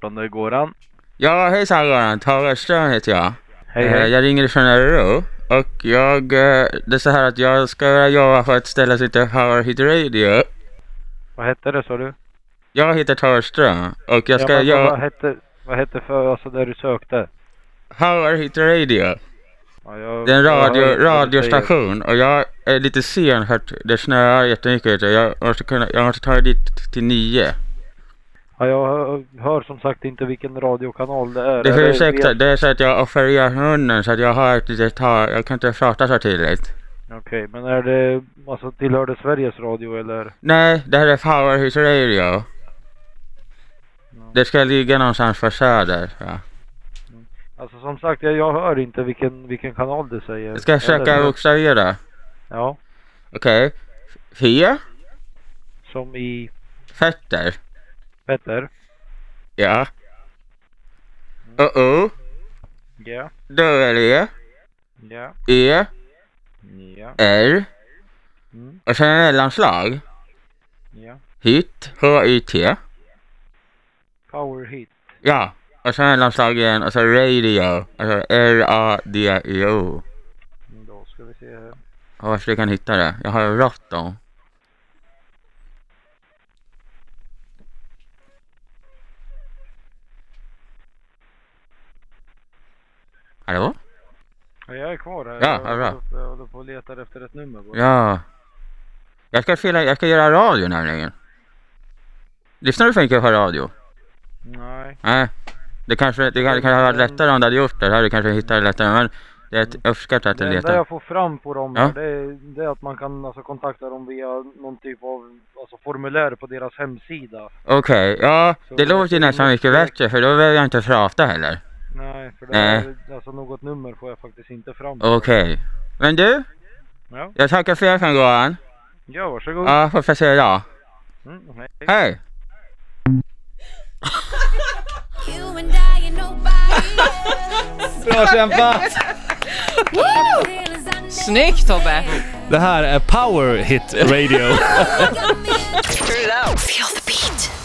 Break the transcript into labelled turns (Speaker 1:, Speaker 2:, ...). Speaker 1: 18 Goran.
Speaker 2: Ja, hejsan Göran. Tage Ström heter jag.
Speaker 1: Hej
Speaker 2: Eh,
Speaker 1: hej.
Speaker 2: Jag ringer från Örebro. Och jag, eh, det är så här att jag ska börja jobba för ett ställe som heter Power Hit Radio.
Speaker 1: Vad hette det sa du?
Speaker 2: Jag heter Tage Ström och jag ska
Speaker 1: ja, men Vad
Speaker 2: jobba...
Speaker 1: hette, vad hette för, alltså där du sökte?
Speaker 2: Power Hit Radio.
Speaker 1: Ja, jag,
Speaker 2: Det är en
Speaker 1: jag hör inte
Speaker 2: radio,
Speaker 1: vad du säger.
Speaker 2: radiostation och jag är lite sen för att det snöar jättemycket ute. Jag måste, kunna, jag måste ta mig dit till nio.
Speaker 1: Ja, jag hör, hör som sagt inte vilken radiokanal det är.
Speaker 2: Det
Speaker 1: Eller
Speaker 2: är, ursäkta,
Speaker 1: vet-
Speaker 2: det är så att jag opererar munnen så att jag har ett litet tag. Jag kan inte prata så tydligt.
Speaker 1: Okej, men är det, alltså tillhör det Sveriges Radio eller?
Speaker 2: Nej, det här är Power Hit Radio. Det ska ligga någonstans på söder. Ja.
Speaker 1: Alltså som sagt, jag, jag hör inte vilken, vilken kanal det säger.
Speaker 2: Jag ska försöka
Speaker 1: Eller-
Speaker 2: bokstavera.
Speaker 1: Ja,
Speaker 2: Okej. Fia?
Speaker 1: som i
Speaker 2: Fötter?
Speaker 1: Petter.
Speaker 2: Ja. Uh-oh.
Speaker 1: Ja.
Speaker 2: W.
Speaker 1: Ja.
Speaker 2: E.
Speaker 1: Ja.
Speaker 2: R.
Speaker 1: Mm.
Speaker 2: Och sen mellanslag.
Speaker 1: Ja.
Speaker 2: Hit. H-I-T.
Speaker 1: Power hit.
Speaker 2: Ja. Och sen mellanslag igen och så radio. Alltså R-A-D-I-O.
Speaker 1: Mm, Då ska vi se här.
Speaker 2: Jag hoppas du kan hitta det. Jag har bråttom. Hallå?
Speaker 1: Ja, jag är kvar här.
Speaker 2: Ja,
Speaker 1: jag, håller
Speaker 2: ja, bra.
Speaker 1: på- jag håller på och letar efter ett nummer bara.
Speaker 2: Ja. Jag ska, fylla, jag ska göra radio nämligen. Lyssnar du för mycket på radio?
Speaker 1: Nej.
Speaker 2: Nej. Det kanske, det kan- det kanske hade varit lättare om du hade gjort det. Då hade du kanske hittat det lättare. Men det är ett- jag uppskattar att du
Speaker 1: Det enda
Speaker 2: letar.
Speaker 1: jag får fram på dem
Speaker 2: Ja.
Speaker 1: här, det, är, det är att man kan alltså, kontakta dem via någon typ av alltså, formulär på deras hemsida.
Speaker 2: Okej, ja.
Speaker 1: Så-
Speaker 2: Det låter ju nästan mycket bättre för då behöver jag inte prata heller.
Speaker 1: Nej, för det
Speaker 2: Nej.
Speaker 1: Är, alltså, något nummer får jag faktiskt inte fram.
Speaker 2: Okej. Men du?
Speaker 1: Ja.
Speaker 2: Jag tackar för hjälpen Goran.
Speaker 1: ja, varsågod.
Speaker 2: Ja, får jag säga ja.
Speaker 1: Mm, hej.
Speaker 2: Hej!
Speaker 3: You and I and nobody else.
Speaker 4: Bra kämpat!
Speaker 5: Snyggt Tobbe!
Speaker 4: Det här är Power Hit Radio.
Speaker 3: Feel the beat.